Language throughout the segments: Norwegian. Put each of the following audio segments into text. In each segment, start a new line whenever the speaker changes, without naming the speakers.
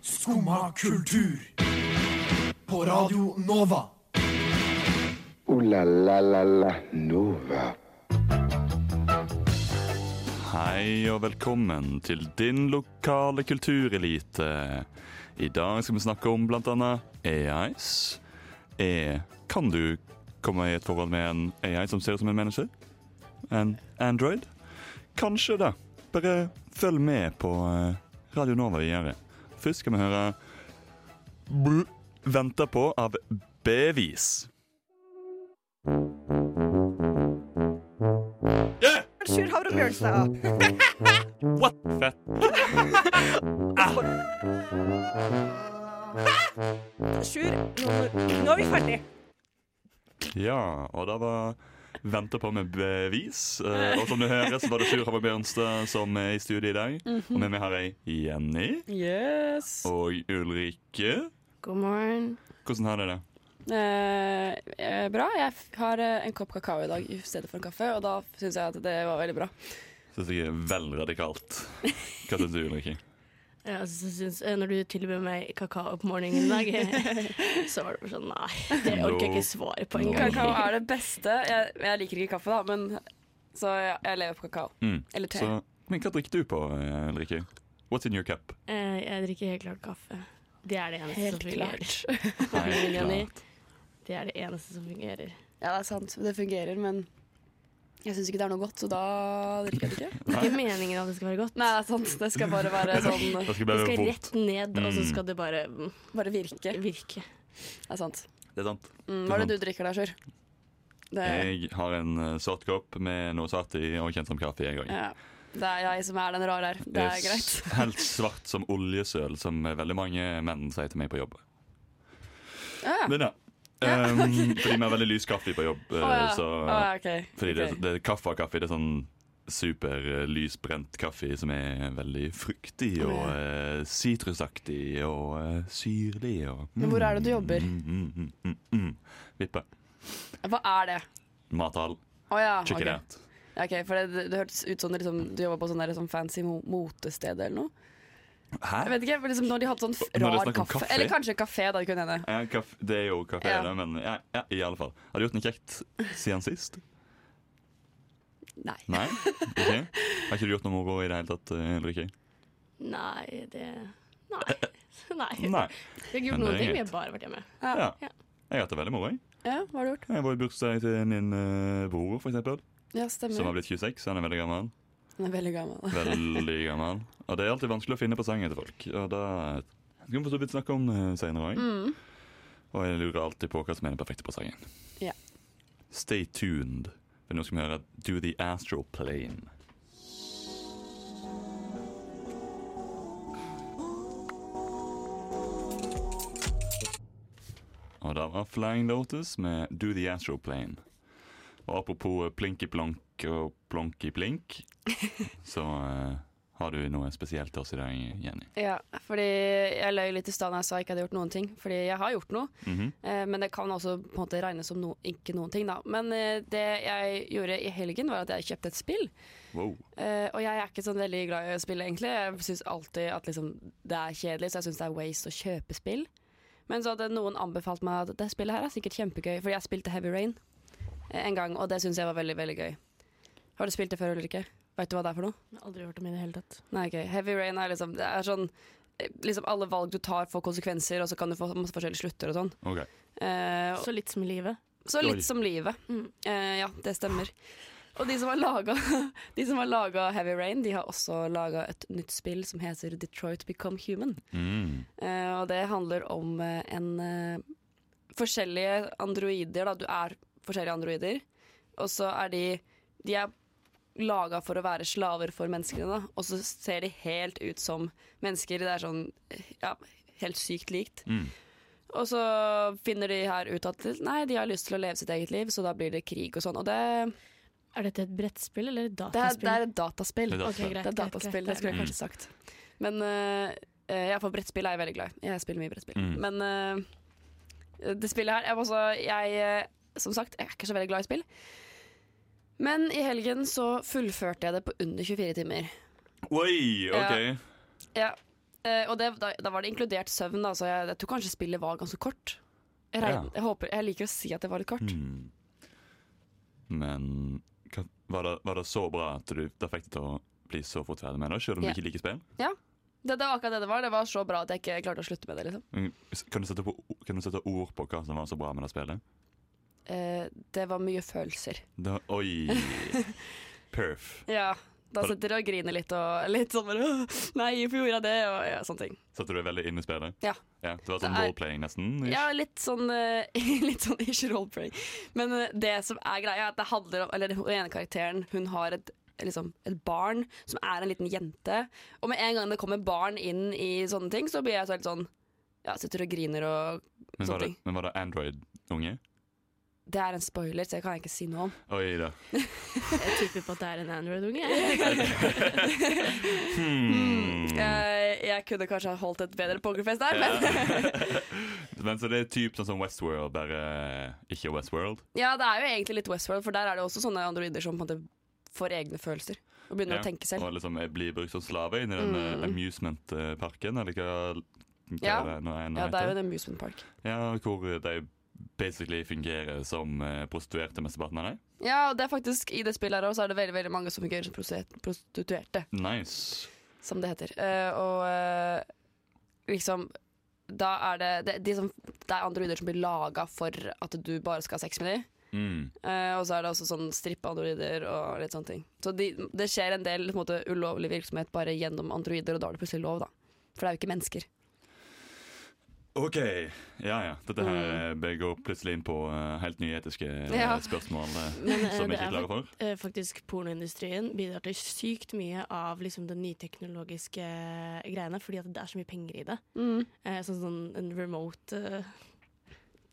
Skumma kultur. På Radio Nova.
Ooh la la la la Nova.
Hei og velkommen til din lokale kulturelite. I dag skal vi snakke om bl.a. AIs. E, kan du komme i et forhold med en AI som ser ut som en menneske? En Android? Kanskje det. Bare følg med på eh, Radio Nova videre. Først skal vi høre Bl- Venter på av Bevis.
Sjur Havre Bjørnstad.
What? Fett.
Sjur, nå, nå er vi ferdig.
Ja, og da var Venter på med bevis. Eh, og som du hører, så var det Sjur Hamar Bjørnstad som er i studio i dag. Og med meg har jeg Jenny
Mhm. Yes.
og Ulrikke.
God morgen.
Hvordan har dere det?
Eh, eh, bra. Jeg f- har eh, en kopp kakao i dag i stedet for en kaffe, og da syns jeg at det var veldig bra.
Syns jeg er vel radikalt. Hva syns du, Ulrikke?
Ja, altså, så syns, eh, når du tilbød meg kakao på morgenen i dag, så var det bare sånn Nei, det orker jeg ikke svare på engang.
Kakao er det beste. Jeg, jeg liker ikke kaffe, da, men så jeg, jeg lever på kakao.
Mm.
Eller te.
Så, men hva drikker du på, eh, Ulrikke? What's in your cup?
Eh, Jeg drikker helt klart kaffe. Det er det eneste
Helt
som fungerer.
klart.
Nei,
Jenny.
klart.
Det er det eneste som fungerer.
Ja, det er sant. Det fungerer, men jeg syns ikke det er noe godt, så da drikker jeg det ikke.
Det er ikke meningen at det skal være godt.
Nei, det er sant. Det skal bare være sånn
Det skal
Det
bare være
skal
vondt.
rett ned, og så
Mm.
skal det bare mm,
Bare virke.
virke.
Det er sant.
Det er sant.
Mm, hva er det du drikker da, Sjur? Det,
Jeg har en eh, sort kopp med noe satt i og kjent som kaffe, jeg òg.
ja. det er jeg som er den rare her. Det er greit.
Helt svart som oljesøl, som veldig mange menn sier til meg på jobb.
Ah. Ja.
Men ja. Um, fordi vi har veldig lys kaffe på jobb. eh,
Å ja.
så,
Å ja, ok.
Fordi det,
Ok.
det er kaffe av kaffe. Det er sånn super eh, lysbrent kaffe som er veldig fruktig og eh, sitrusaktig og eh, syrlig. Og,
Men hvor er det du jobber?
Mm, mm, mm, mm, mm. Vippe.
Hva er det?
Mathall.
Å ja.
Check it
ok.
out.
Ja, ok, for det, det hørtes ut som det liksom, du jobba på sånn der, sånn fancy mo motested eller noe. Jeg
Hæ?
vet ikke, for liksom, Når de hadde sånn f-
Når det er
rar
snakk om
kaffe.
kaffe?
Eller kanskje kafé, da. det kunne hende.
Ja, kaff- det er jo kafé,
Ja.
det, men ja, ja, i alle fall. Har du gjort noe kjekt siden sist?
Nei.
Nei? Ok. Har ikke du gjort noe moro i det hele tatt, eh, Ulrikke?
Nei, det Nei. Nei.
Nei.
Jeg har ikke
Men
gjort
det er
noen ting, men
greit.
jeg har bare vært hjemme.
Ja. Jeg har hatt det veldig moro, jeg.
Ja, Hva har du gjort?
Jeg var i bursdag til min eh, bror, for eksempel.
Ja,
Som har
stemmer.
blitt 26, så han er veldig gammel.
Den er veldig gammel.
Veldig gammel. Og det er alltid vanskelig å finne på sangen til folk. Og da skal vi for så vidt snakke om eh, senere òg. Og jeg lurer alltid på hva som er den perfekte presangen.
Ja.
Stay tuned. For nå skal vi høre Do the Astral Plane. Og da var Flying Lotus med Do the Astral Plane. Og apropos eh, plinky-plonk og plonky-plink, så eh, har du noe spesielt til oss i dag, Jenny.
Ja, fordi Jeg løy litt i stad da jeg sa jeg ikke hadde gjort noen ting. Fordi jeg har gjort noe.
Mhm.
Eh, Men det kan også på en måte regnes som no, ikke noen ting, da. Men eh, det jeg gjorde i helgen, var at jeg kjøpte et spill.
Wow.
Eh, og jeg er ikke sånn veldig glad i å spille, egentlig. Jeg syns alltid at liksom, det er kjedelig, så jeg syns det er waste å kjøpe spill. Men så hadde noen anbefalt meg at det spillet her er sikkert kjempegøy, fordi jeg spilte Heavy Rain eh, en gang, og det syns jeg var veldig, veldig gøy. Har du spilt det før, Ulrikke? Veit du hva det er for noe?
Jeg har aldri hørt om det i det hele tatt.
Nei, ok. Heavy Rain er liksom Det er sånn eh, Liksom alle valg du tar, får konsekvenser, og så kan du få masse forskjellige slutter og sånn.
Ok.
Eh,
Så litt som i livet.
så
Oi.
litt som livet. Eh, ja, det stemmer. Og de som har laga- de som har laga Heavy Rain, de har også laga et nytt spill som heter Detroit Become Human.
Mm.
Eh, og det handler om eh, en eh, Forskjellige androider, da. Du er forskjellige androider. Og så er de De er laga for å være slaver for menneskene, da. Og så ser de helt ut som mennesker. Det er sånn Ja, helt sykt likt.
Mm.
Og så finner de her ut at nei, de har lyst til å leve sitt eget liv, så da blir det krig og sånn. Og det,
Er dette et brettspill eller et
det, er,
dataspill?
det er et dataspill.
Det er
Ok,
dataspill.
greit,
Det er
greit,
dataspill,
greit,
det skulle jeg
Mm.
kanskje sagt. Men eh, eh, ja, for brettspill er jeg veldig glad i. Jeg spiller mye brettspill.
Mm.
Men eh, det spillet her jeg, var også- jeg, eh, Som sagt, jeg er ikke så veldig glad i spill. Men i helgen så fullførte jeg det på under 24 timer.
Oi, ok.
Ja. Eh, og det, da, da var det inkludert søvn, da, så jeg, jeg tror kanskje spillet var ganske kort. Jeg, regner,
Ja.
jeg, håper, jeg liker å si at det var litt kort.
Mm. Men hva- var det, var det så bra at du da fikk det til å bli så fort ferdig med det, selv om
Ja.
du ikke liker spill?
Det, det var akkurat det det var. Det var så bra at jeg ikke klarte å slutte med det. liksom.
Mm, s- Kan du, sette på, kan du sette ord på hva som var så bra med det spillet?
Eh, det var mye følelser.
Det var, oi! Perf.
Ja, da
Har du-
sitter du og griner litt og litt sånn bare «Åh, Nei, hvorfor gjorde jeg det? Og ja, sånne ting.
Satte du deg veldig inn i spillet?
Ja.
ja det var
Det
sånn
er-
roleplaying, nesten? ish?
Ja, litt sånn eh, Litt sånn ikke roleplaying. Men eh, det som er greia, er at det handler om Eller den ene karakteren, hun har et Liksom et barn som er en liten jente. Og med en gang det kommer barn inn i sånne ting, så blir jeg så helt sånn Ja, sitter og griner og
men, var
sånne
det,
ting.
men var det Android-unge?
Det er en spoiler, så jeg kan ikke si noe om.
Oi da.
Jeg tipper på at det er en Android-unge.
Hmm.
Eh, jeg kunne kanskje ha holdt et bedre pokerfest der, men
Eh, Men så det er typ sånn som Westworld, bare ikke Westworld?
Ja, det er jo egentlig litt Westworld, for der er det også sånne androider som på en måte får egne følelser. Og begynner
Ja,
å tenke selv.
Og liksom jeg blir brukt som slave inni den eh, amusement-parken, eller hva, hva
Mm. Ja.
er det nå enn
Ja, det er jo
heter.
en amusement park.
Ja, hvor de basically fungerer som eh, prostituerte mesteparten av deg.
Ja, og det er faktisk i det spillet her også, er det veldig veldig mange som fungerer som prostitu- prostituerte,
Nice.
som det heter. Eh, og eh, liksom da er det det, de som, det er androider som blir laga for at du bare skal ha sex med dem.
Mm.
og så er det også sånn strippe-androider og litt sånne ting. Så de, det skjer en del på en måte, ulovlig virksomhet bare gjennom androider, og da er det plutselig lov, da. For det er jo ikke mennesker.
OK. Ja ja. Dette her mm. går plutselig inn på eh, helt nye etiske eh,
Ja.
spørsmål eh,
Men, eh,
som jeg
det
ikke
er
er klare for.
Eh, Faktisk, pornoindustrien bidrar til sykt mye av liksom, den nyteknologiske eh, greiene, fordi at det er så mye penger i det.
Mm.
Eh, sånn, sånn en remote eh,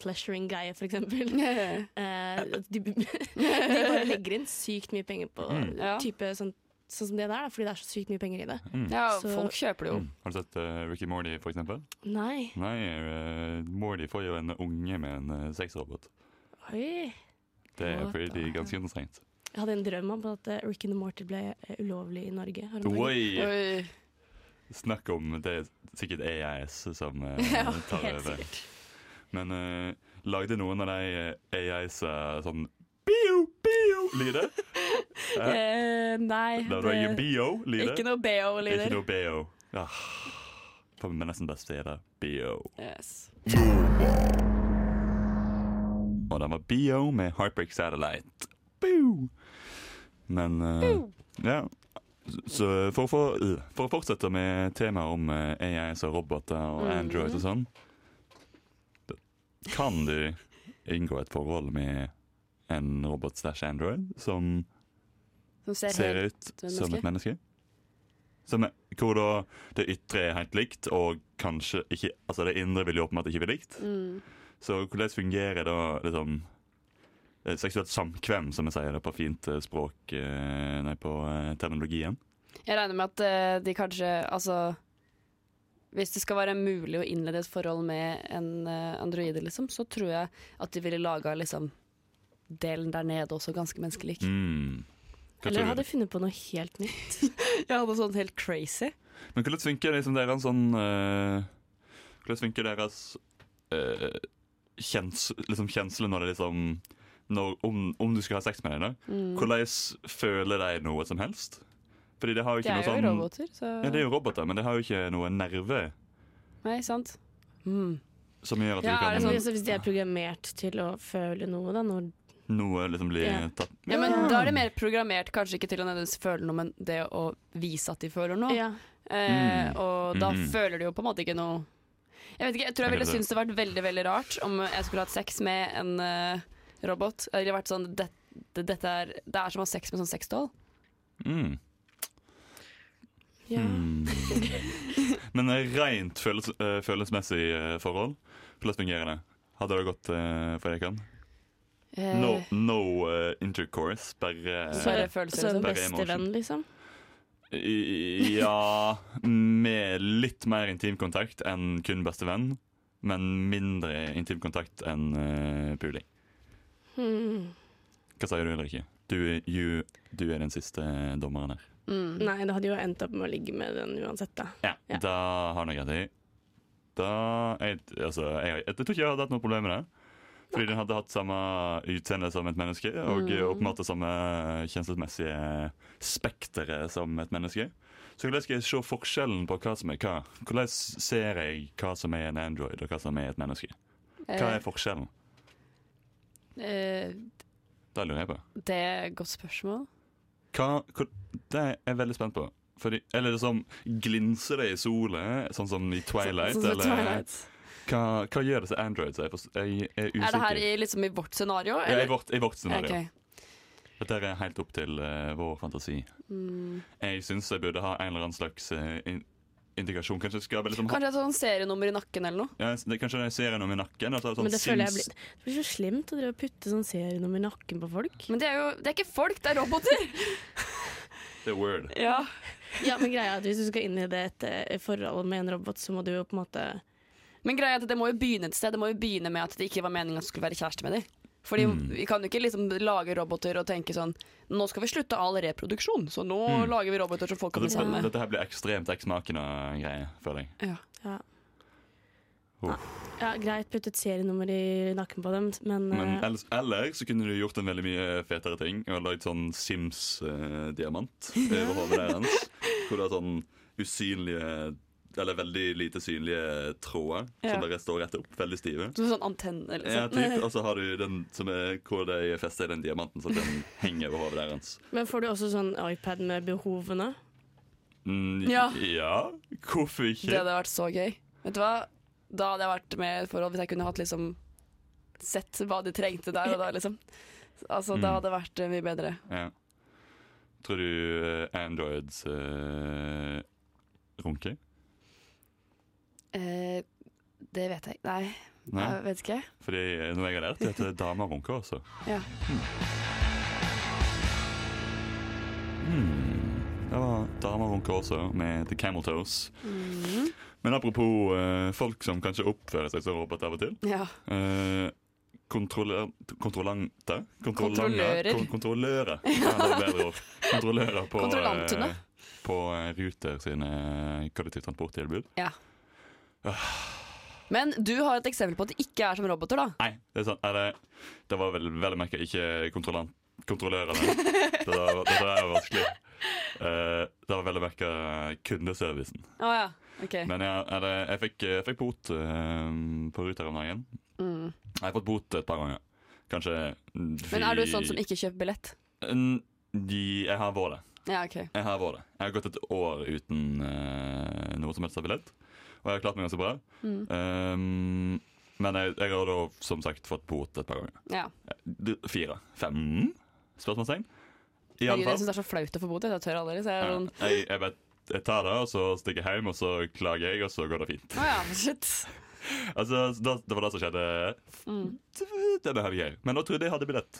pleasuring-greie, for eksempel. Eh, de, de bare legger inn sykt mye penger på
Mm.
Ja.
type sånn, sånn som det der, da, fordi det er så sykt mye penger i det.
Ja,
Så-
folk kjøper det jo.
Mm. Har du sett eh, Ricky Mordy, for eksempel?
Nei,
Nei, eh, Mordy får jo en unge med en eh, sexrobot.
oi.
eh, Det er
What
pretty ganske interessant.
Jeg hadde en drøm om at eh, Rick and Morty ble eh, ulovlig i Norge. her om dagen.
Oi! Eh,
Oi.
Snakk om Det er sikkert AIS som eh,
Ja,
tar
helt
over. Men eh, lagde noen av de AIS uh, sånn bio, bio-lyder?
Eh, nei.
Da var det
det-
bio-lyder.
ikke noe BO-lyder.
Ikke noe bio. Ah, for meg nesten beste er det bio.
yes.
Og den var bio med Heartbreak Satellite. Bio! Men eh, ja. Så for å, få- øh, for å fortsette med temaet om eh, AIs og roboter og Android og sånn da Kan du inngå et forhold med en robot slash android som
Som ser,
ser
helt
ut
som et
som et menneske? Som, er- hvor da det ytre er helt likt, og kanskje ikke Altså det indre vil jo åpenbart ikke bli likt.
Mm.
Så hvordan fungerer da liksom eh, seksuelt samkvem, som jeg sier det på fint eh, språk eh, Nei, på eh, terminologien?
Jeg regner med at eh, de kanskje Altså hvis det skal være mulig å innlede et forhold med en eh, androide, liksom, så tror jeg at de ville laga liksom, delen der nede også ganske menneskelik.
Mm. Hva
Eller
tror
hadde
du?
jeg funnet på noe helt nytt.
Ja, noe sånt helt crazy.
Men hvordan funker liksom deres sånn eh, Hvordan funker deres eh, kjens, liksom kjensle når det liksom når, om, om du skal ha sex med deg, da?
Mm.
Hvordan føler de noe som helst? Fordi det har jo
De
ikke
er
noe
jo
sånn
roboter, så
Ja, det er jo roboter, men det har jo ikke noe nerve
Nei, sant. Mm.
som gjør at
Ja,
du
er det
kan
sånn-
Altså, hvis de er programmert til å føle noe, da, når
Noe liksom blir
Ja.
tatt
Ja, men Da er det mer programmert, kanskje ikke til å nødvendigvis føle noe, men det å vise at de føler noe.
ja.
Eh,
Mm.
Og da
Mhm.
føler du jo på en måte ikke noe Jeg vet ikke, jeg tror
Jeg
jeg ville
vet det.
syntes det vært veldig veldig rart om jeg skulle hatt sex med en eh, robot. Eller vært sånn det, det, dette er, det er som å ha sex med sånn sexdoll.
Mm.
Ja.
Mm. Men eh, rent følels eh, følelsesmessig eh, forhold, hvordan fungerer det? Hadde det gått eh, for Ekan?
Eh,
No, no eh, intercourse, bare
Så,
eh,
Bare følelser,
så
liksom.
sånn
Bare
bestevenn, liksom.
i- Ja, med litt mer intimkontakt enn kun bestevenn. Men mindre intimkontakt enn eh, puling.
Hmm.
Hva sier du, Ulrikke? Du, er- you- du er den siste dommeren her.
Mm.
Nei, det hadde jo endt opp med å ligge med den uansett, da.
Ja,
Ja.
da har han rett i. Da jeg, altså, jeg, jeg tror ikke jeg hadde hatt noe problem med det. Fordi den hadde hatt samme utseende som et menneske, og åpenbart det samme kjenslemessige spekteret som et menneske. Så hvordan skal jeg se forskjellen på hva som er hva? Hvordan ser jeg hva som er en android, og hva som er et menneske? Hva er forskjellen?
Eh, eh,
Det lurer jeg på.
det er et godt spørsmål.
Hva, hvor, det er jeg veldig spent på. Fordi, eller liksom, glinser det i solen, sånn som i Twilight?
Sånn som
eller,
Twilight.
Hva, hva gjør det til androids? Jeg, forst- jeg er usikker.
Er det her i, liksom i vårt scenario?
ja,
eller?
i, vårt, I vårt scenario.
Ok.
Dette er helt opp til eh, vår fantasi. Jeg syns jeg burde ha en eller annen slags eh, in indikasjon. Kanskje jeg skal bare liksom ha
Kanskje et sånn serienummer i nakken eller noe?
ja, det, Kanskje jeg ser noe i nakken? Altså, sånn
Men det føler jeg
Sims-
blir, det blir så slemt å drive og putte sånn serienummer i nakken på folk.
Men det er jo det er ikke folk, det er roboter!
Det er word.
ja.
Ja, men greia er at Hvis du skal inn i det et eh, forhold med en robot, så må du jo på en måte
Men greia er at det må jo begynne et sted. Det må jo begynne med at det ikke var meningen at du skulle være kjæreste med dem. Fordi
Mm.
Vi kan jo ikke liksom lage roboter og tenke sånn Nå skal vi slutte all reproduksjon, så nå
Mm.
lager vi roboter som folk kan bli
Dette,
sammen med.
dette her blir ekstremt eksmakende greier, føler jeg.
Ja.
Ja.
Uff.
ja, greit, putt et serienummer i nakken på dem, men,
Men
eh,
Mm.
ellers, eller så kunne du gjort en veldig mye fetere ting og lagd sånn Sims-diamant eh, over hodet deres. Hvor du har sånn usynlige eller veldig lite synlige tråder
Ja.
som bare står rett opp. Veldig stive.
Som en sånn antenne eller
Ja,
noe sånt.
typ, Og så har du den som er hvor de er festet i den diamanten, så den henger over hodet deres.
men får du også sånn iPad med behovene?
Mm,
Ja.
ja, hvorfor ikke?
Det hadde vært så gøy. Vet du hva? Da hadde jeg vært med i et forhold hvis jeg kunne hatt liksom sett hva de trengte der og da, liksom. Altså, Det
Mm.
hadde vært eh, mye bedre.
Ja. Tror du eh, Androids eh, runker?
Eh, det vet jeg Nei,
Nei,
jeg vet ikke.
fordi når jeg har lært det, er at damer altså. runker også.
Ja.
Hmm. Det var Hmm. damer runker også, med The Camel Toes.
Mhm.
Men apropos eh, folk som kanskje oppfører seg som robot av og til.
ja.
Eh, kontroller, kontrollanter? Kontrollanger?
Kontrollører.
Kon kontrollører. Ja, det er et bedre ord. Kontrollører på,
Kontrollantene.
eh, på eh, Ruter sine eh, kollektivtransporttilbud.
ja. Men du har et eksempel på at det ikke er som roboter, da.
Nei, det er sant. Eller, det var vel vel å merke ikke kontrollant, kontrollørene. Det var, det var vanskelig. Eh, det var vel å merke kundeservicen.
Å ja. OK.
Men ja, er det, jeg, fikk, jeg fikk bot eh, på Ruter om dagen. Jeg har fått bot et par ganger. Kanskje
Mm. Men er du sånn som ikke kjøper billett?
De, jeg har vært det.
Ja, OK.
Jeg har vært det. Jeg har gått et år uten eh, noe som helst av billett. Og jeg har klart meg ganske bra.
Mm.
Um, men jeg, jeg har da som sagt fått bot et par ganger.
Ja.
Du, Fire? Fem? Spørsmålstegn? I alle
Herregud, jeg
fall.
syns det er så flaut å få bot. Jeg tør aldri. Så jeg er
Ja,
sånn
jeg, jeg, bare- jeg tar det, og så stikker jeg hjem, og så klager jeg, og så går det fint.
Å ja, shit.
Altså, da, det var det som skjedde
Mm.
denne helgen. Men da trodde jeg hadde billett.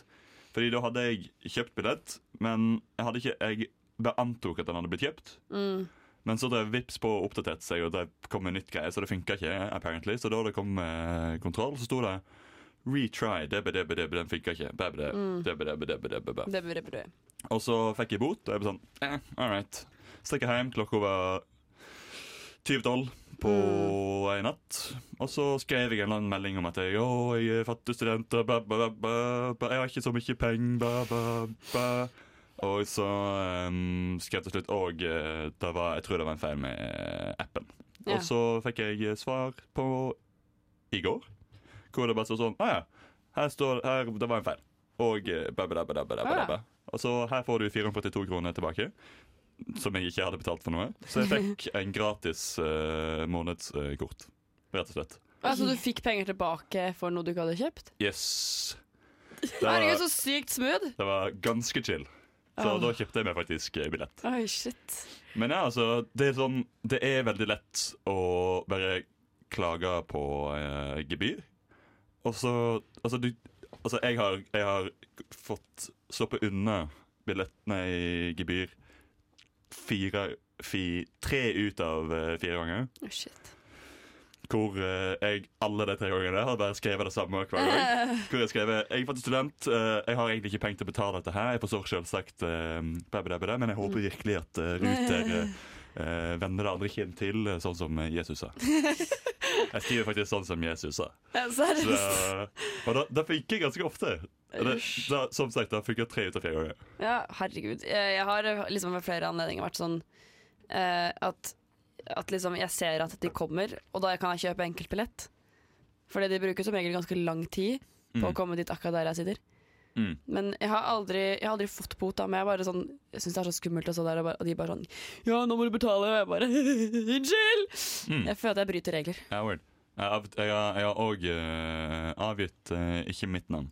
Fordi da hadde jeg kjøpt billett, men jeg hadde ikke Jeg bare antok at den hadde blitt kjøpt.
Mm.
Men så drev Vipps på og oppdaterte seg, og det kom en nytt greie, så det funka ikke. apparently Så da det kom eh, kontroll, så sto det Retry, debbe, debbe, debbe, den funka ikke. Bæ, bæ,
Mm.
debbe, debbe, debbe, debbe, bæ.
Det burde jeg burde.
Og så fikk jeg bot, og jeg ble sånn eh, All right. Stikker hjem, klokka var 20.12 på en natt. Og så skrev jeg en eller annen melding om at jeg, å, jeg er fattig student, og bæ, bæ, bæ, bæ, bæ, jeg har ikke så mye penger, bæ, bæ, bæ. Og så ehm, skrev jeg til slutt Og eh, det var, jeg tror det var en feil med appen.
Ja.
Og så fikk jeg eh, svar på i går, hvor det bare står sånn Å ah, ja, her står her, Det var en feil. Og eh, bæ, bæ, bæ, bæ, bæ, bæ,
Ah, ja.
bæ. Og så her får du 442 kroner tilbake. Som jeg ikke hadde betalt for noe. Så jeg fikk en gratis eh, månedskort. rett og slett.
Altså, du fikk penger tilbake for noe du ikke hadde kjøpt?
Yes. Det
Herregud,
var,
så sykt smooth!
det var ganske chill. Så
Ah.
da kjøpte jeg meg faktisk eh, billett.
Oi, shit.
Men ja, altså, det er, sånn, det er veldig lett å bare klage på eh, gebyr. Og så Altså, du Altså, jeg har, jeg har fått sluppet unna billettene i gebyr fire, fi, tre ut av eh, fire ganger.
Å, shit.
hvor eh, jeg alle de tre gangene har bare skrevet det samme hver gang. Hvor Jeg har skrevet, jeg er faktisk student, eh, jeg har egentlig ikke penger til å betale dette her. Jeg forstår selvsagt eh, bæ, bæ, bæ, bæ, men jeg håper virkelig at eh, Ruter eh, eh, vender det andre kinn til, eh, sånn som eh, Jesus sa. Jeg skriver faktisk sånn som Jesus sa. Så,
Seriøst.
eh, og det, det funker ganske ofte. Det,
Usch.
det, som sagt, det funker tre ut av fire ganger.
Ja, herregud. Jeg jeg har liksom ved flere anledninger vært sånn eh, at, at liksom jeg ser at de kommer, og da kan jeg kjøpe enkeltbillett. Fordi de bruker som regel ganske lang tid på å
Mm.
komme dit akkurat der jeg sitter.
Mm.
Men jeg har aldri, jeg har aldri fått bot av meg. Jeg, bare sånn, jeg syns det er så skummelt, og, så der, og, bare, og de bare sånn Ja, nå må du betale! Og jeg bare Unnskyld!
Mm.
Jeg føler at jeg bryter regler.
Ja, weird. Jeg har- jeg har- jeg har òg avgitt eh, ikke mitt navn,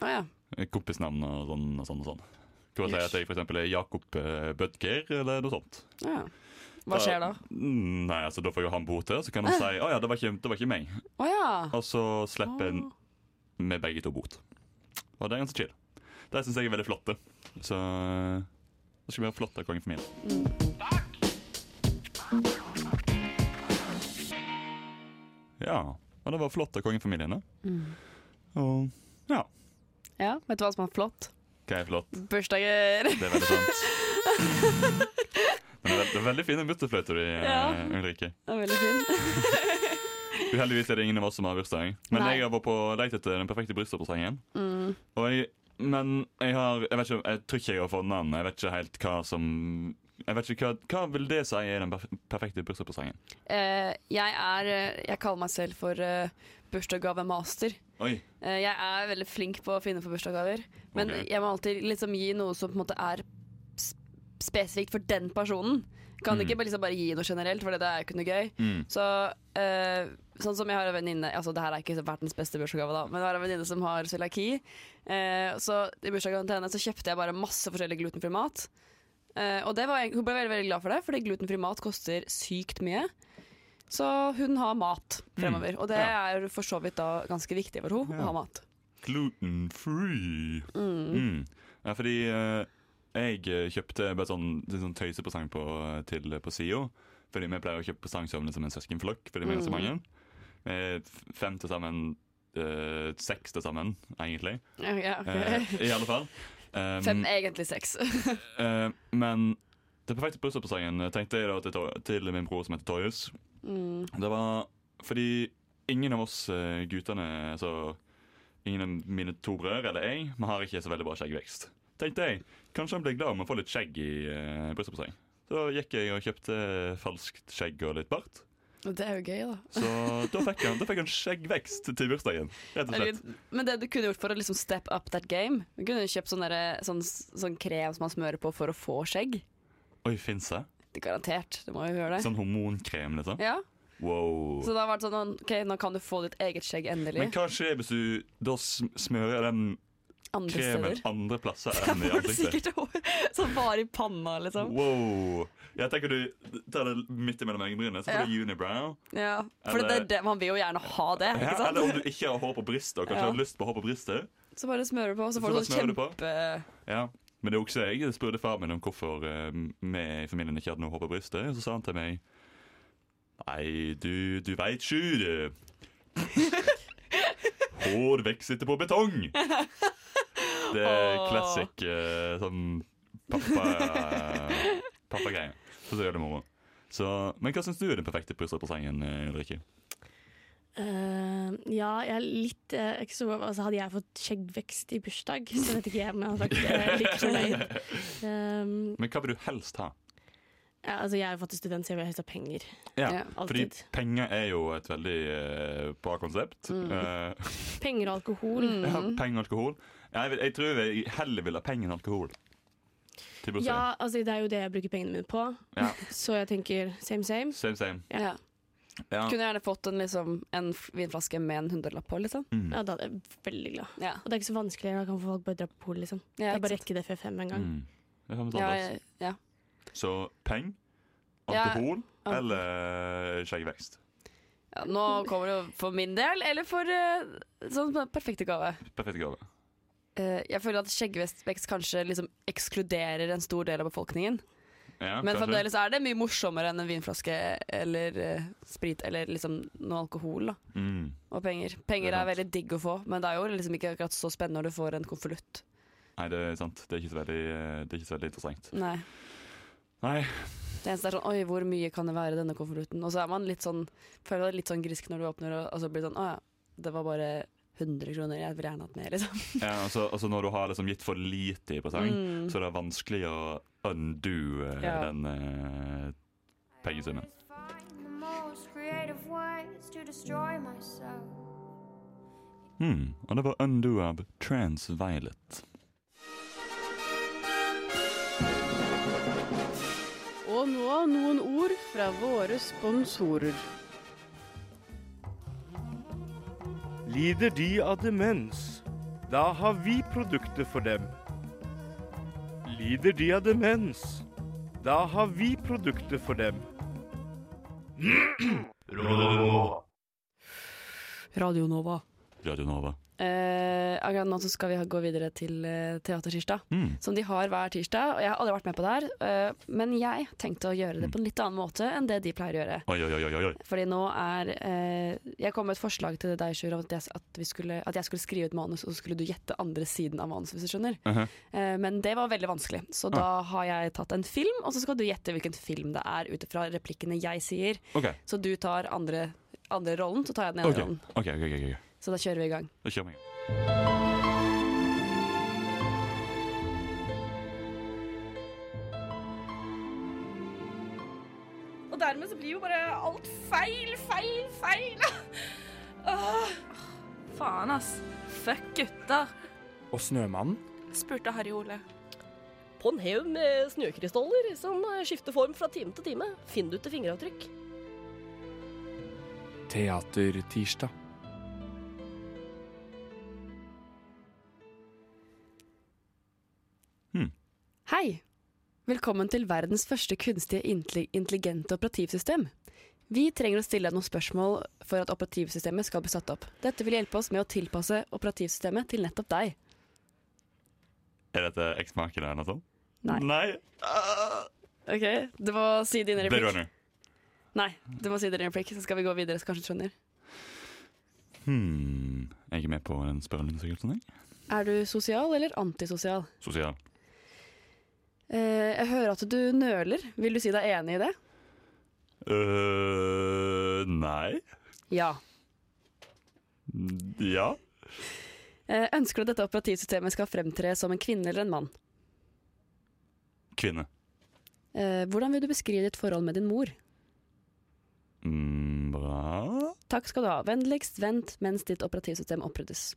Å ja.
Eh, kompisnavn og sånn og sånn. og sånn. Kan man si at jeg for eksempel er Jakob uh, Bødger, eller noe sånt.
Å ja. Hva skjer da?
Mm, Nei, altså Da får jo han bote, så kan han si 'Å ja, det var ikke, det var ikke meg'.
Å ja.
Og så slipper en med begge to bot. Og det er ganske chill. Det syns jeg er veldig flotte. Så eh, det skal vi ha flotte kongefamilier. Ja. Og det var flott av kongefamiliene. Og ja.
ja. Vet du hva som er flott?
Hva er flott?
Bursdager!
Det er veldig sant. Men Det er veld- det er veldig fine butterfløyter i eh,
Ja.
Ulrikke.
Det er veldig fint.
Uheldigvis er det ingen av oss som har bursdag. Men
Nei. Mm.
jeg har vært på leit etter den perfekte bryllupspresangen. Og jeg, men jeg har Jeg vet ikke, jeg tror ikke jeg har funnet den. Jeg vet ikke helt hva som Jeg vet ikke hva, hva vil det si er den perf- perfekte bryllupspresangen?
Eh, jeg er eh, Jeg kaller meg selv for eh, bursdagsgavemaster.
Oi.
Eh, jeg er veldig flink på å finne på bursdagsgaver, men
Ok.
jeg må alltid liksom gi noe som på en måte er s- spesifikt for den personen. Kan
Mm.
ikke bare liksom bare gi noe generelt, for det er jo ikke noe gøy.
Mm.
Så eh, sånn som jeg har en venninne Altså det her er ikke verdens beste bursdagsgave, da, men jeg har en venninne som har cøliaki. Eh, så i bursdagsgaven til henne så kjøpte jeg bare masse forskjellig glutenfri mat. Eh, og det var, jeg- hun ble veldig, veldig glad for det, fordi glutenfri mat koster sykt mye. Så hun har mat fremover, og det
Mm. Ja.
er for så vidt da ganske viktig for henne
Ja.
å ha mat.
Gluten free. Mm. Ja, fordi eh, jeg eh, kjøpte bare sånn, en sånn tøysepresang på, til på SIO. Fordi vi pleier å kjøpe presangkjøpene som en søskenflokk.
Mm.
Fordi vi er så mange. Eh, f- Fem til sammen. eh, seks til sammen, egentlig.
Ja, ja, ok.
Eh, I alle fall. Um,
Fem, egentlig seks.
eh, men det perfekte bryllupspresangen eh, tenkte jeg da til, Tor- til min bror som heter Torjus.
Mm.
Det var fordi ingen av oss eh, guttene altså, Ingen av mine to brødre eller jeg Vi har ikke så veldig bra skjeggvekst. Tenkte jeg, Kanskje han blir glad om å få litt skjegg i uh, bryllupspresang. Så da gikk jeg og kjøpte falskt skjegg og litt bart.
Det er jo gøy, da.
Så da fikk han, da fikk han skjeggvekst til bursdagen. Rett og slett.
Men det du kunne gjort for å liksom step up that game Du kunne jo kjøpt sånn, derre- sånn, sånn krem som man smører på for å få skjegg.
Oi, fins det?
Det er Garantert. Det må jo gjøre det.
Sånn hormonkrem, liksom?
Ja,
Wow.
Så da var det sånn OK, nå kan du få ditt eget skjegg endelig.
Men hva skjer hvis du da sm- smører den
Andre
kremen
steder.
andre plasser
Da
enn i
får du
ansiktet?
sikkert hår som varer i panna, liksom.
Wow. Jeg tenker du tar det midt imellom øyenbrynene, så får du unibrow.
Ja, For det
Eller-
er det, man vil jo gjerne ha det,
Ja,
ikke
eller om
sant?
du ikke har hår på brystet, og kanskje
Ja.
har lyst på hår på brystet.
Så bare smører du på, så
Så
får du
bare
sånn
smører du på.
kjempe
Ja. Men det er også jeg spurte far min om hvorfor eh, vi i familien ikke hadde noe hår på brystet, og så sa han til meg Nei, du, du veit sju, du. Hår vokser ikke på betong. Det er
Åh.
classic eh, sånn pappa eh, pappagreie. Så det er det moro. Så, men hva syns du er den perfekte bryllupspresangen, eh, Ulrikke?
Eh, ja, jeg er litt eh, ikke så, altså, Hadde jeg fått skjeggvekst i bursdag, så vet ikke jeg om jeg hadde vært eh, like fornøyd. Um,
Men hva vil du helst ha?
ja, altså, jeg er jo faktisk student, så jeg vil helst ha penger.
Ja.
Fordi
Alltid.
penger er jo et veldig eh, bra konsept.
Mm.
Eh,
Penger og alkohol.
ja,
Mhm.
penger og alkohol. Jeg, vil, jeg tror jeg heller vil ha penger enn alkohol. Til bursdag.
Ja, altså, det er jo det jeg bruker pengene mine på,
Ja.
så jeg tenker same, same.
Same, same.
Ja.
Ja.
Kunne gjerne fått en, liksom, en f- vinflaske med en hundrelapp på, liksom.
Mm.
Ja, da er jeg veldig glad.
Ja.
Og det er ikke så vanskelig, da kan folk bare dra på polet, liksom.
Ja,
det er
ikke
bare å
sant?
rekke det før fem en gang.
Mm. Det er samme
Ja,
standard.
jeg- ja.
Så penger,
Ja,
alkohol
al-
eller eh, skjeggvekst.
Ja, nå kommer det jo for min del, eller for eh, sånn perfekte gave.
Perfekt gave.
Eh, jeg føler at skjeggvekst kanskje liksom ekskluderer en stor del av befolkningen.
Ja,
Men
kanskje.
fremdeles er det mye morsommere enn en vinflaske eller eh, sprit eller liksom noe alkohol da,
Mm.
og penger.
Det
Penger
er
er
sant.
veldig digg å få, men det er jo liksom ikke akkurat så spennende når du får en konvolutt.
Nei, det er sant. Det er ikke så veldig, eh, det er ikke så veldig interessant.
Nei.
Nei.
Det eneste er sånn Oi, hvor mye kan det være i denne konvolutten? Og så er man litt sånn føler det er litt sånn grisk når du åpner, og, og så blir det sånn Å ja, det var bare 100 kroner. Jeg ville gjerne hatt mer, liksom.
Ja, altså, altså når du har liksom gitt for lite i presang, så er det vanskelig å undo eh,
Mm. Ja.
den eh, pengesummen.
Find the most creative ways to destroy myself.
Hmm, og det var Undo av Transviolet.
Og nå noen ord fra våre sponsorer.
Lider de av demens? Da har vi produkter for dem. Lider de av demens? Da har vi produkter for dem.
Radio Nova.
Radio Nova.
Eh, akkurat nå så skal vi ha- gå videre til eh, Teatertirsdag,
Mm.
som de har hver tirsdag. Og jeg har aldri vært med på det her, eh, men jeg tenkte å gjøre det på en litt annen måte enn det de pleier å gjøre.
Oi, oi, oi, oi, oi.
Fordi nå er eh, Jeg kom med et forslag til deg, Sjur, om at jeg, at, vi skulle, at jeg skulle skrive et manus, og så skulle du gjette andre siden av manus, hvis du skjønner.
Mhm.
Eh, men det var veldig vanskelig, så da har jeg tatt en film, og så skal du gjette hvilken film det er ut ifra replikkene jeg sier.
OK.
Så du tar andre, andre rollen, så tar jeg den ene
ok,
rollen.
ok, ok, ok, ok.
Så da kjører vi i gang.
Da kjører vi i gang.
Og dermed så blir jo bare alt feil, feil, feil. Åh,
Faen, ass. Fuck gutter,
Og Snømannen?
spurte Harry Ole.
På en haug med snøkrystaller som skifter form fra time til time, finner du til fingeravtrykk.
Teatertirsdag.
Hei! Velkommen til verdens første kunstige intelli- intelligente operativsystem. Vi trenger å stille deg noen spørsmål for at operativsystemet skal bli satt opp. Dette vil hjelpe oss med å tilpasse operativsystemet til nettopp deg.
Er dette X-Marked eller noe sånt?
Nei. Ok, Du må si din
Blade
replikk.
Runner.
Nei, du må si din replikk, så skal vi gå videre. så kanskje du skjønner.
Hmm. Jeg er ikke med på den spørreundersøkelsen, jeg.
Er du sosial eller antisosial?
Sosial.
Eh, jeg hører at du nøler. Vil du si deg enig i det?
øh nei.
Ja.
Ja.
Eh, ønsker du at dette operativsystemet skal fremtre som en kvinne eller en mann?
Kvinne.
Eh, hvordan vil du beskrive ditt forhold med din mor?
Mm, bra.
Takk skal du ha. Vennligst vent mens ditt operativsystem oppryddes.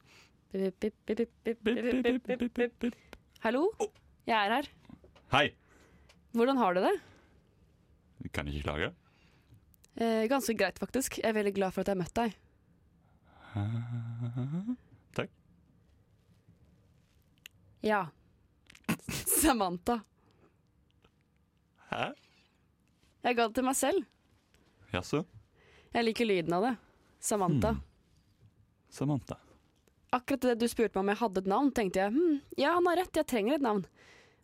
Pip, pip, pip, pip, pip,
Bip, bip,
pip, pip,
bip,
pip,
bip, bip, bip.
pip. Hallo, jeg er her.
Hei!
Hvordan har du det?
Kan ikke klage.
Eh, ganske greit, faktisk. Jeg er veldig glad for at jeg har møtt deg.
Takk.
Ja. Samantha.
Hæ?
Jeg ga det til meg selv.
Jaså?
Jeg liker lyden av det. Samantha.
Samantha.
Akkurat det du spurte meg om jeg hadde et navn, tenkte jeg hm, ja, han har rett, jeg trenger et navn.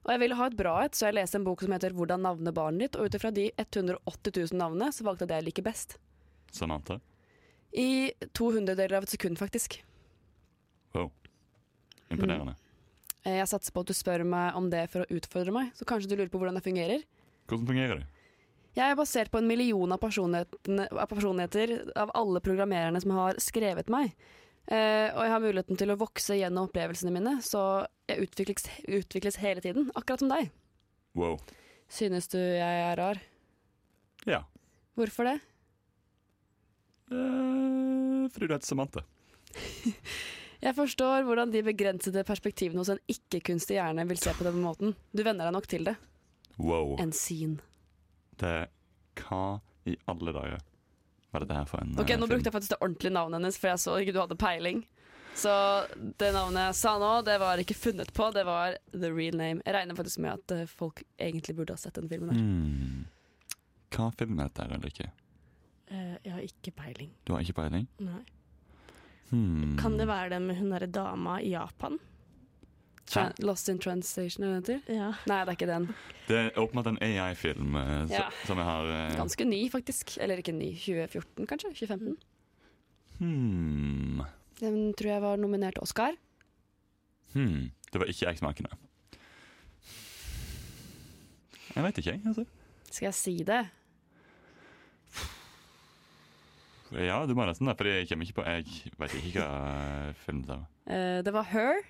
Og jeg ville ha et bra et, så jeg leste en bok som heter 'Hvordan navne barnet ditt', og ut ifra de 180 000 navnene, så valgte jeg det jeg liker best.
Samantha.
I to hundredeler av et sekund, faktisk.
Wow. Imponerende.
Eh, Jeg satser på at du spør meg om det for å utfordre meg, så kanskje du lurer på hvordan det fungerer.
Hvordan fungerer det?
Jeg er basert på en million av personlighetene- av personligheter av alle programmererne som har skrevet meg. Eh, og jeg har muligheten til å vokse gjennom opplevelsene mine, så jeg utvikles, utvikles hele tiden, akkurat som deg.
Wow.
Synes du jeg er rar?
Ja.
Hvorfor det?
Eh, fordi du heter Samantha.
Jeg forstår hvordan de begrensede perspektivene hos en ikke-kunstig hjerne vil se på den måten. Du venner deg nok til det.
Wow.
En sin.
Det Hva i alle dager var dette her for en eh,
Ok, Nå brukte jeg faktisk det ordentlige navnet hennes, for jeg så ikke du hadde peiling. Så det navnet jeg sa nå, det var ikke funnet på, det var the real name. Jeg regner faktisk med at eh, folk egentlig burde ha sett den filmen. her.
mm. Hva film er dette, her, Ulrikke? Mm.
Eh, jeg har ikke peiling.
Du har ikke peiling?
Nei.
Hmm.
Kan det være den med hun derre dama i Japan?
Tra Lost in Translation, er det den heter? Nei, det er ikke den.
Det er åpenbart en AI-film eh, s-
Ja.
som jeg har eh,
Ganske ny, faktisk. Eller ikke ny. 2014, kanskje? 2015.
hmm.
Den tror jeg var nominert til Oscar.
hmm. Det var ikke eksmakende. Jeg veit ikke, jeg. Altså.
Skal jeg si det?
Ja, du må nesten det, for jeg kommer ikke på Jeg veit ikke hva film det var.
Eh, det var Her.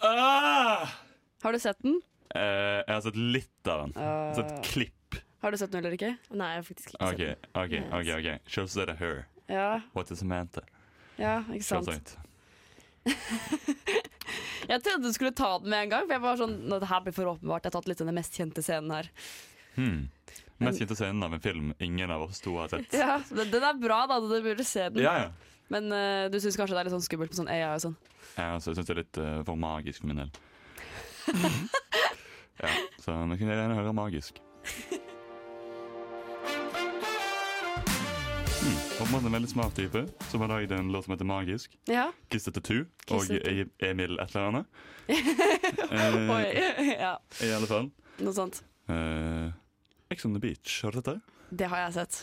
Har du sett den?
Eh, jeg har sett litt av den.
Ah.
sett klipp.
Har du sett den eller ikke? Nei, jeg har faktisk
OK, ok, ok. ok Selv så er det her.
Ja.
What is Samantha?
Ja, ikke sant.
Selvsagt.
Jeg trodde du skulle ta den med en gang, for jeg var sånn "Nå, Det her blir for åpenbart. Jeg har tatt litt den mest kjente scenen her.
Hmm. Mest kjente scenen av en film ingen av oss to har sett.
Ja, Den den er bra, da. Du burde se den.
Ja, ja.
Men eh, du syns kanskje det er litt sånn skummelt med sånn AI og sånn.
Jeg også syns det er litt eh, for magisk for min del. ja, så nå kunne jeg gjerne høre magisk. Hmm. Åpenbart en veldig smart type som har lagd en låt som heter Magisk.
Ja.
Kiss It Tattoo og
Kiss the Two.
E- Emil et eller annet. Eh,
Oi, ja.
I alle fall.
Noe sånt.
Eh, Ex on the Beach, har du sett det?
Det har jeg sett.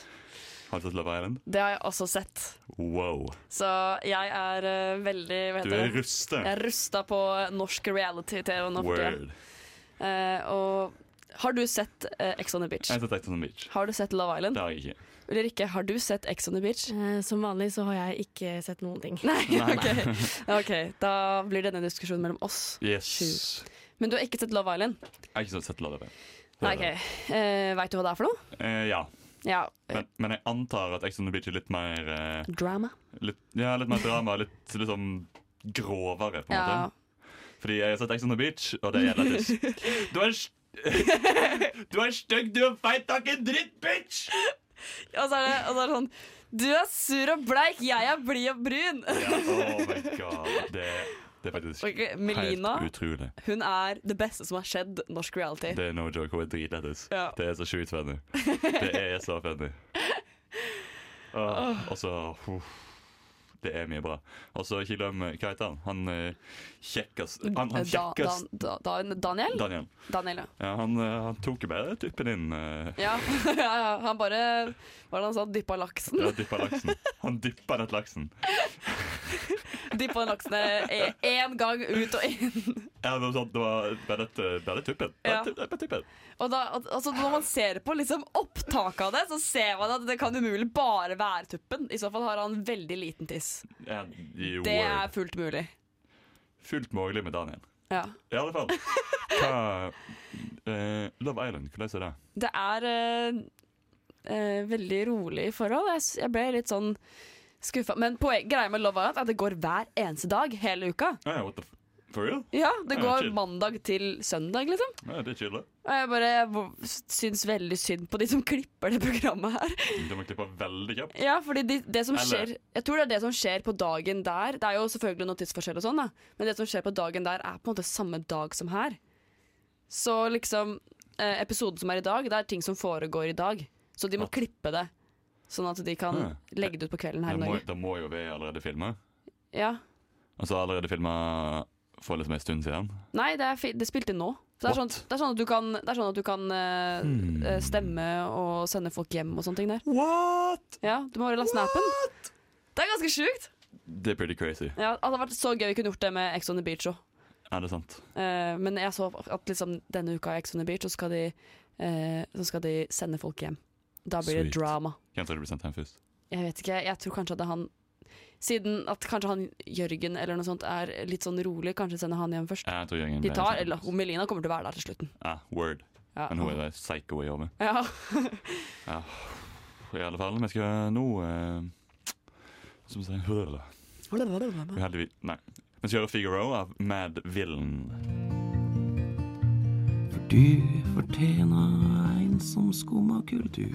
Har du sett Love Island?
Det har jeg også sett.
Wow.
Så jeg er eh, veldig hva
Du
heter
er
det?
rustet.
Jeg er rusta på norsk reality-TV nå for tida.
Word.
Eh, og har du sett eh, Ex on the Beach?
Jeg har sett Ex on the Beach.
Har du sett Love Island?
Det har jeg ikke.
Ulrikke, har du sett Ex on the Beach?
Eh, Som vanlig så har jeg ikke sett noen ting.
Nei.
ok. ok, da blir denne diskusjonen mellom oss.
Yes.
Men du har ikke sett Love Island?
Jeg har ikke sett Love Island.
Nei, ok. Eh, Veit du hva det er for noe?
Eh, ja.
Ja.
Men, men jeg antar at Ex on the Beach er litt mer eh,
Drama.
litt, Ja, litt mer drama. Litt liksom grovere, på en
Ja.
måte. Fordi jeg har sett Ex on the Beach, og det er lættis. Du er en st- Du er stygg, du er feit, du er ikke en dritt, bitch!
Og så er det, og så er det sånn Du er sur og bleik, jeg er blid og brun!
Ja, oh my god. Det, det er faktisk
Ok, Melina.
helt utrolig.
Hun er det beste som har skjedd norsk reality.
Det er no joke. Hun er dritlættis.
Ja.
Det er så sjukt funny. Det er så funny. Ah, Og så uff, Det er mye bra. Og så ikke glem eh, Hva heter han? Han eh, kjekkas Han, han
Da-
kjekkas
Eh, da, da, da, Daniel?
Daniel.
Daniel, ja.
Ja, han, eh, han tok jo bare tuppen inn. eh,
Ja, ja, ja. Han bare Hva var det han sa? Dyppa laksen.
Ja, dyppa laksen. Han dyppa den laksen.
Dyppa den laksen én e- gang ut og inn.
Ja, det var sånn, det var bare, et- bare tuppen. Bare
Ja.
tuppen, bare tuppen.
Og da, al- altså, når man ser på liksom, opptaket av det, så ser man at det kan umulig bare være tuppen. I så fall har han veldig liten tiss.
Ja, jo, eh,
Det er fullt mulig.
fullt mulig med Daniel.
Ja.
I alle fall. Hva, eh, Love Island, hvordan er det?
Det er eh, eh, veldig rolig forhold. Jeg, s- jeg ble litt sån skuffa. Men poen- greia med Love Island er at det går hver eneste dag hele uka.
Ah, ja, what the f For real?
Ja, Det
Ja,
går
chill.
mandag til søndag, liksom.
Ja, det er chill, det.
Og jeg bare hvor- syns veldig synd på de som klipper det programmet her.
Du må klippe veldig kjapt.
Ja, fordi de, det som
Eller-
skjer Jeg tror det er det som skjer på dagen der. Det er jo selvfølgelig noen tidsforskjell og sånn, da. Men det som skjer på dagen der, er på en måte samme dag som her. Så liksom eh, Episoden som er i dag, det er ting som foregår i dag. Så de må klippe det. Sånn at de kan
Ah.
legge det ut på kvelden her
Det
i
må,
Norge.
det må jo være allerede filma.
Ja.
Altså allerede filma for liksom en stund siden.
Nei, det er, fi- det er spilt inn nå. Så det, er sånn, det er sånn at du kan, det er sånn at du kan eh,
Hmm.
eh, stemme og sende folk hjem og sånne ting der.
What?
Ja, Du må bare la snappen. Det er ganske sjukt!
Det er pretty crazy.
Ja, det hadde vært så gøy vi kunne gjort det med Ex on the Beach òg.
Er det sant?
Eh, men jeg så at liksom, denne uka i Ex on the Beach, så skal, de, eh, så skal de sende folk hjem. Da blir
Sweet.
det drama.
Hvem tror du blir sendt hjem først?
Jeg vet ikke, jeg tror kanskje at det er han Siden at kanskje han Jørgen eller noe sånt er litt sånn rolig, kanskje sender han hjem først.
Jeg tror Jørgen
De
blir
tar,
sendt hjem
eller
først.
Melina kommer til å være der til slutten.
Ah, sånn- word.
Ja.
Men hun er jo psycho i hodet.
Ja.
Ja. I alle fall, vi skal nå eh, Hva skal vi si Hører det. Uheldigvis Nei. Vi skal høre Figaro av Mad Villain.
Du fortjener en som skummer kultur.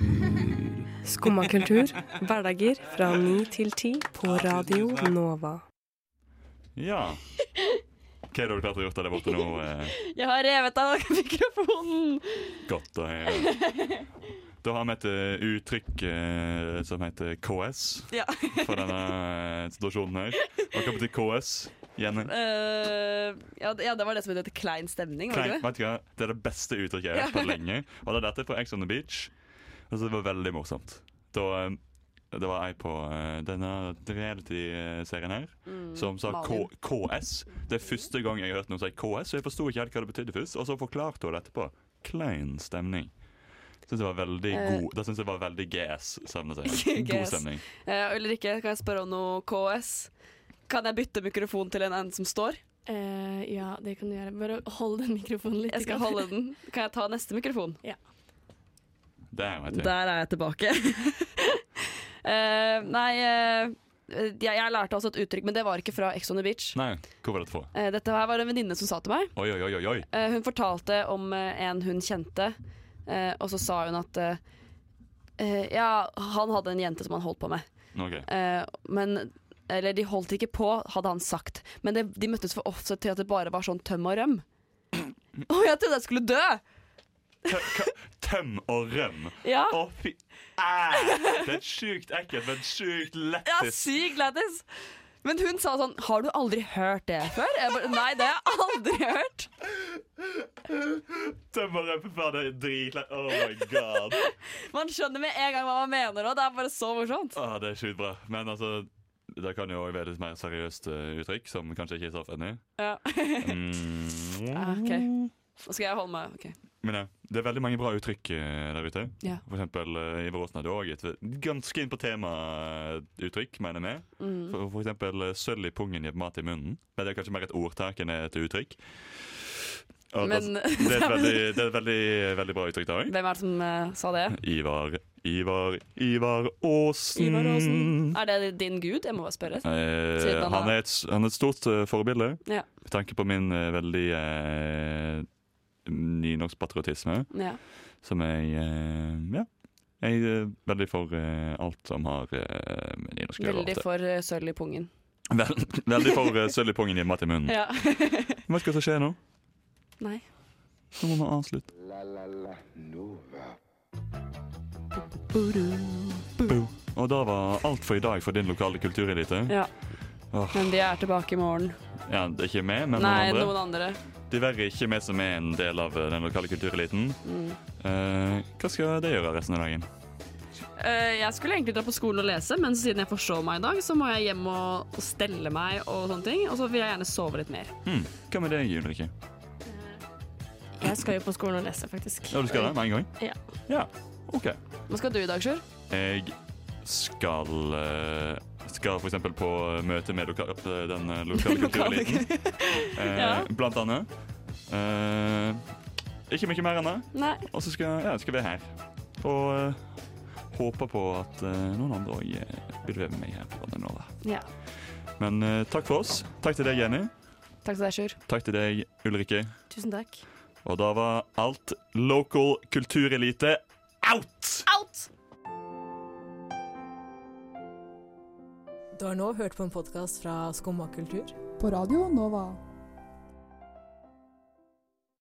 Skumma kultur. Hverdager fra ni til ti på Radio Nova.
Ja. Hva er det dere klarte å gjøre der borte nå? Eh,
Jeg har revet av mikrofonen!
godt å høre. Da har vi et eh, uttrykk eh, som heter KS
Ja.
eh, for denne situasjonen her. Og hva betyr KS? Jenny.
Eh, ja, det- ja, det var det som het klein stemning, var det
Klein,
ikke det?
vet du hva? Det er det beste uttrykket jeg har hørt på lenge. Og det er dette fra Ex on the Beach. Og så det var veldig morsomt. Da, eh, det var ei på eh, denne reality-serien her
Mm,
som sa K
Malin.
KS. Det er første gang jeg har hørt noen si KS, og jeg forsto ikke helt hva det betydde først. Og så forklarte hun det etterpå. Klein stemning. Synes det var veldig
Eh.
god Det syns jeg var veldig GS. Savner seg. God
GS.
stemning.
Eh, Ulrikke, kan jeg spørre om noe KS? Kan jeg bytte mikrofon til en annen som står?
Eh, ja, det kan du gjøre. Bare hold den mikrofonen litt.
Jeg skal holde den. Kan jeg ta neste mikrofon?
Ja.
Der, vet du.
Der er jeg tilbake. Eh, nei, eh, jeg, jeg lærte altså et uttrykk, men det var ikke fra Ex on the Beach.
Nei, hvor var dette fra?
Eh, dette her var en venninne som sa til meg.
Oi, oi, oi, oi, oi.
Eh, hun fortalte om eh, en hun kjente, eh, og så sa hun at eh, eh, Ja, han hadde en jente som han holdt på med.
Ok.
Eh, men Eller de holdt ikke på, hadde han sagt. Men det, de møttes for ofte til at det bare var sånn tøm og røm. Å, jeg trodde jeg skulle dø!
Tøm og røm.
Ja.
Å, fy Æ! Det er sjukt ekkelt, men sjukt
Ja,
lættis.
syk lættis! Men hun sa sånn Har du aldri hørt det før? Jeg bare, Nei, det har jeg aldri hørt.
Tøm og røm, fy faen, det er dritlett. Oh my god.
Man skjønner med en gang hva man mener, og det er bare så morsomt.
Å, det er sjukt bra. Men altså, det kan jo også være litt mer seriøst eh, uttrykk, som kanskje ikke er så funny.
Ja. Ah,
Mm.
OK. Nå skal jeg holde meg OK.
Men ja, det er veldig mange bra uttrykk eh, der ute.
Ja.
For eksempel eh, Ivar Aasen hadde òg et ganske inn på tema-uttrykk, mener jeg.
Mm.
For, for eksempel eh, sølv i pungen gir mat i munnen. Men det er kanskje mer et ordtak enn et uttrykk. Og,
Men-
altså, det er et veldig, det er et veldig, veldig bra uttrykk, det òg.
Hvem er det som eh, sa det?
Ivar, Ivar, Ivar Aasen.
Ivar Aasen. Er det din gud? Jeg må bare spørre.
Eh,
Siden han
han, er et, s- han er et stort eh, forbilde
Ja.
med tanke på min eh, veldig eh, nynorskpatriotisme,
Ja.
som jeg eh, Ja. Jeg er veldig for eh, alt som har eh, med nynorsk å gjøre.
Veldig for eh, sølv i pungen.
Vel, veldig for eh, sølv i pungen hjemme til munnen.
Ja.
Vet du hva som skjer nå?
Nei.
Nå må vi avslutte. Boo. Og da var alt for i dag for din lokale kulturelite.
Ja.
Åh,
Men de er tilbake i morgen.
ja, det er ikke meg, men
Nei,
noen andre.
noen andre.
Diverre ikke vi som er en del av eh, den lokale kultureliten.
Mm.
Eh, hva skal det gjøre resten av dagen?
Eh, jeg skulle egentlig dra på skolen og lese, men siden jeg forstår meg i dag, så må jeg hjem og, og stelle meg og sånne ting. Og så vil jeg gjerne sove litt mer.
Hmm, hva med deg, Ulrikke?
Jeg skal jo på skolen og lese, faktisk.
Ja, du skal det med en gang?
Ja.
Ja, OK.
Hva skal du i dag, Sjur?
Jeg skal eh, Skal for eksempel på møte med loka eh, den eh, lokale kultureliten. Eh,
Ja.
Blant annet. Eh, ikke mye mer enn det.
Nei.
Og så skal, ja, skal vi her. Og eh, håper på at eh, noen andre òg vil være med meg her på Radio Nova.
Ja.
Men eh, takk for oss. Takk til deg, Jenny.
Takk til deg, Sjur.
Takk til deg, Ulrikke.
Tusen takk.
Og da var alt local kulturelite out!
Out!
Du har nå hørt på en podkast fra Skumma kultur. På radio Nova.